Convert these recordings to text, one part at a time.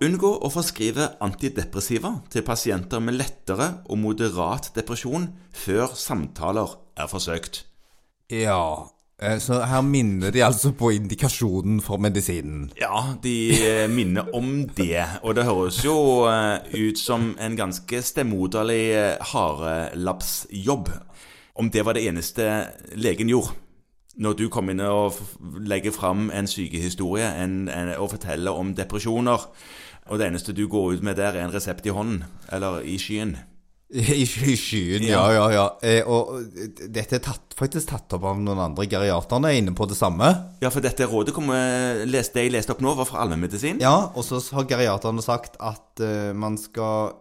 Unngå å forskrive antidepressiva til pasienter med lettere og moderat depresjon før samtaler er forsøkt. Ja, eh, så her minner de altså på indikasjonen for medisinen. Ja, de eh, minner om det, og det høres jo eh, ut som en ganske stemoderlig eh, harelapsjobb. Om det var det eneste legen gjorde. Når du kom inn og f- legger fram en sykehistorie en, en, og forteller om depresjoner, og det eneste du går ut med der, er en resept i hånden, eller i skyen. I sky- i skyen, ja, ja, ja. Eh, Og dette er tatt, faktisk tatt opp av noen andre geriaterne, er inne på det samme. Ja, for dette rådet kommer, les, det jeg leste opp nå, var fra allmennmedisin. Ja, og så har geriaterne sagt at eh, man skal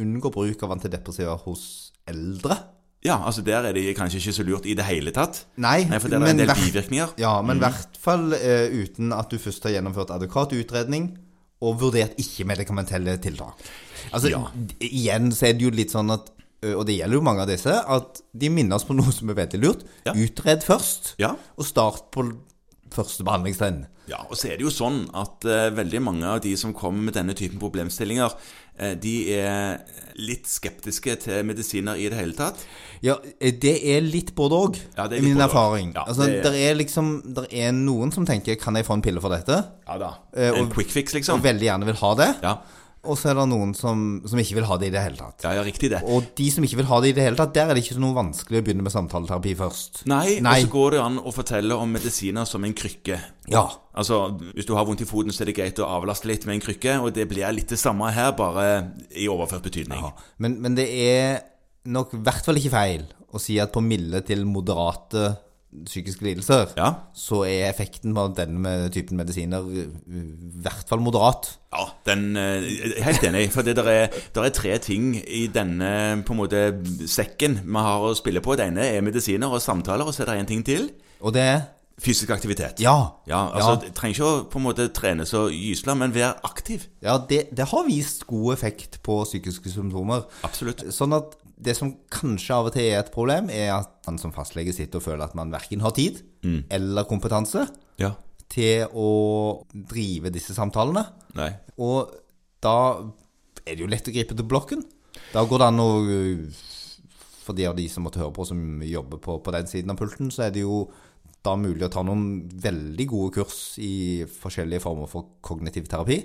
unngå bruk av antidepressiva hos eldre. Ja, altså der er det kanskje ikke så lurt i det hele tatt. Nei, Nei, for det er en del hvert- bivirkninger. Ja, men i Mhm. hvert fall eh, uten at du først har gjennomført adekvat utredning og vurdert ikke-medikamentelle tiltak. Altså, Ja. d- Igjen så er det jo litt sånn at, ø, og det gjelder jo mange av disse, at de minner oss på noe som er veldig lurt. Ja. Utred først, Ja. og start på l- første behandlingstrinn. Ja, og så er det jo sånn at eh, veldig mange av de som kommer med denne typen problemstillinger, eh, de er litt skeptiske til medisiner i det hele tatt. Ja, eh, det er litt både òg, Ja, det er i litt min både og. erfaring. Ja, altså, det- Der er liksom, der er noen som tenker 'kan jeg få en pille for dette?' Ja da. Eh, En og- quick fix, og liksom. veldig gjerne vil ha det. Ja, Og så er det noen som, som ikke vil ha det i det hele tatt. ja, ja riktig det. Og de som ikke vil ha det i det hele tatt, der er det ikke så noe vanskelig å begynne med samtaleterapi først. Nei, Nei. og så går det an å fortelle om medisiner som en krykke. Ja. Altså, Hvis du har vondt i foten, så er det greit å avlaste litt med en krykke, og det blir litt det samme her, bare i overført betydning. Men, men det er nok i hvert fall ikke feil å si at på milde til moderate psykiske lidelser, Ja. så er effekten på den med typen medisiner i hvert fall moderat. Ja, den, eh, jeg er helt enig. For det der er, der er tre ting i denne på en måte, sekken vi har å spille på. Det ene er medisiner og samtaler, og så er det én ting til. Og det er Fysisk aktivitet. Ja. Ja, altså, det Trenger ikke å på en måte trenes og gysle, men vær aktiv. ja, det, det har vist god effekt på psykiske symptomer. Absolutt. Sånn at det som kanskje av og til er et problem, er at man som fastlege sitter og føler at man verken har tid eller kompetanse Ja. til å drive disse samtalene. Nei. Og da er det jo lett å gripe til blokken. Da går det an å For de av de som måtte høre på, som jobber på, på den siden av pulten, så er det jo da mulig å ta noen veldig gode kurs i forskjellige former for kognitiv terapi.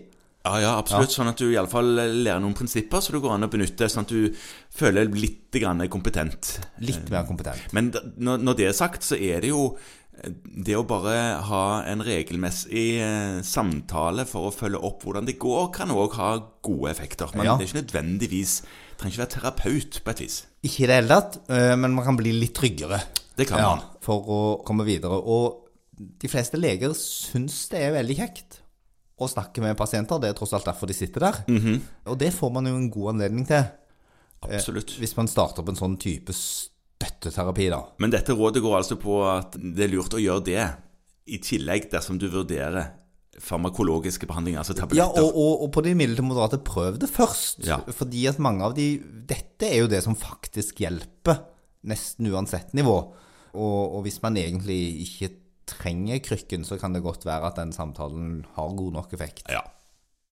Ja, ja, absolutt. Sånn at du iallfall lærer noen prinsipper som du går an å benytte, sånn at du føler litt grann kompetent. Litt mer kompetent. Men d- når når det er sagt, så er det jo eh, det å bare ha en regelmessig eh, samtale for å følge opp hvordan det går, kan òg ha gode effekter. Men Ja. det er ikke nødvendigvis Trenger ikke være terapeut på et vis. Ikke i det hele tatt, eh, men man kan bli litt tryggere. Det kan man. For å komme videre. Og de fleste leger syns det er veldig kjekt å snakke med pasienter. Det er tross alt derfor de sitter der. Og det får man jo en god anledning til eh. Absolutt. hvis man starter opp en sånn type støtteterapi, da. Men dette rådet går altså på at det er lurt å gjøre det i tillegg dersom du vurderer farmakologiske behandlinger, altså Ja, tabletter. og, og, og på de milde til moderate, prøv det først. Ja. Fordi at mange av de Dette er jo det som faktisk hjelper, nesten uansett nivå. Og, og hvis man egentlig ikke trenger krykken, så kan det godt være at den samtalen har god nok effekt. Ja.